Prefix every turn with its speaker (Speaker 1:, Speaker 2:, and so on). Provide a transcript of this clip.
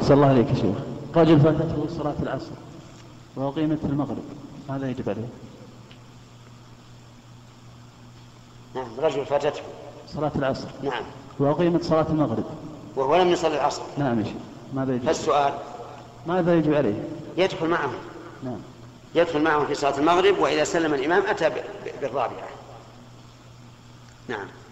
Speaker 1: صلى الله عليك يا شيخ رجل فاتته صلاة العصر وأقيمت في المغرب ماذا يجب عليه؟
Speaker 2: نعم رجل فاتته
Speaker 1: صلاة العصر
Speaker 2: نعم
Speaker 1: وأقيمت صلاة المغرب
Speaker 2: وهو لم يصلي العصر
Speaker 1: نعم يا شيخ ماذا يجب
Speaker 2: فالسؤال
Speaker 1: ماذا يجب عليه؟
Speaker 2: يدخل معهم
Speaker 1: نعم
Speaker 2: يدخل معهم في صلاة المغرب وإذا سلم الإمام أتى ب- ب- بالرابعة نعم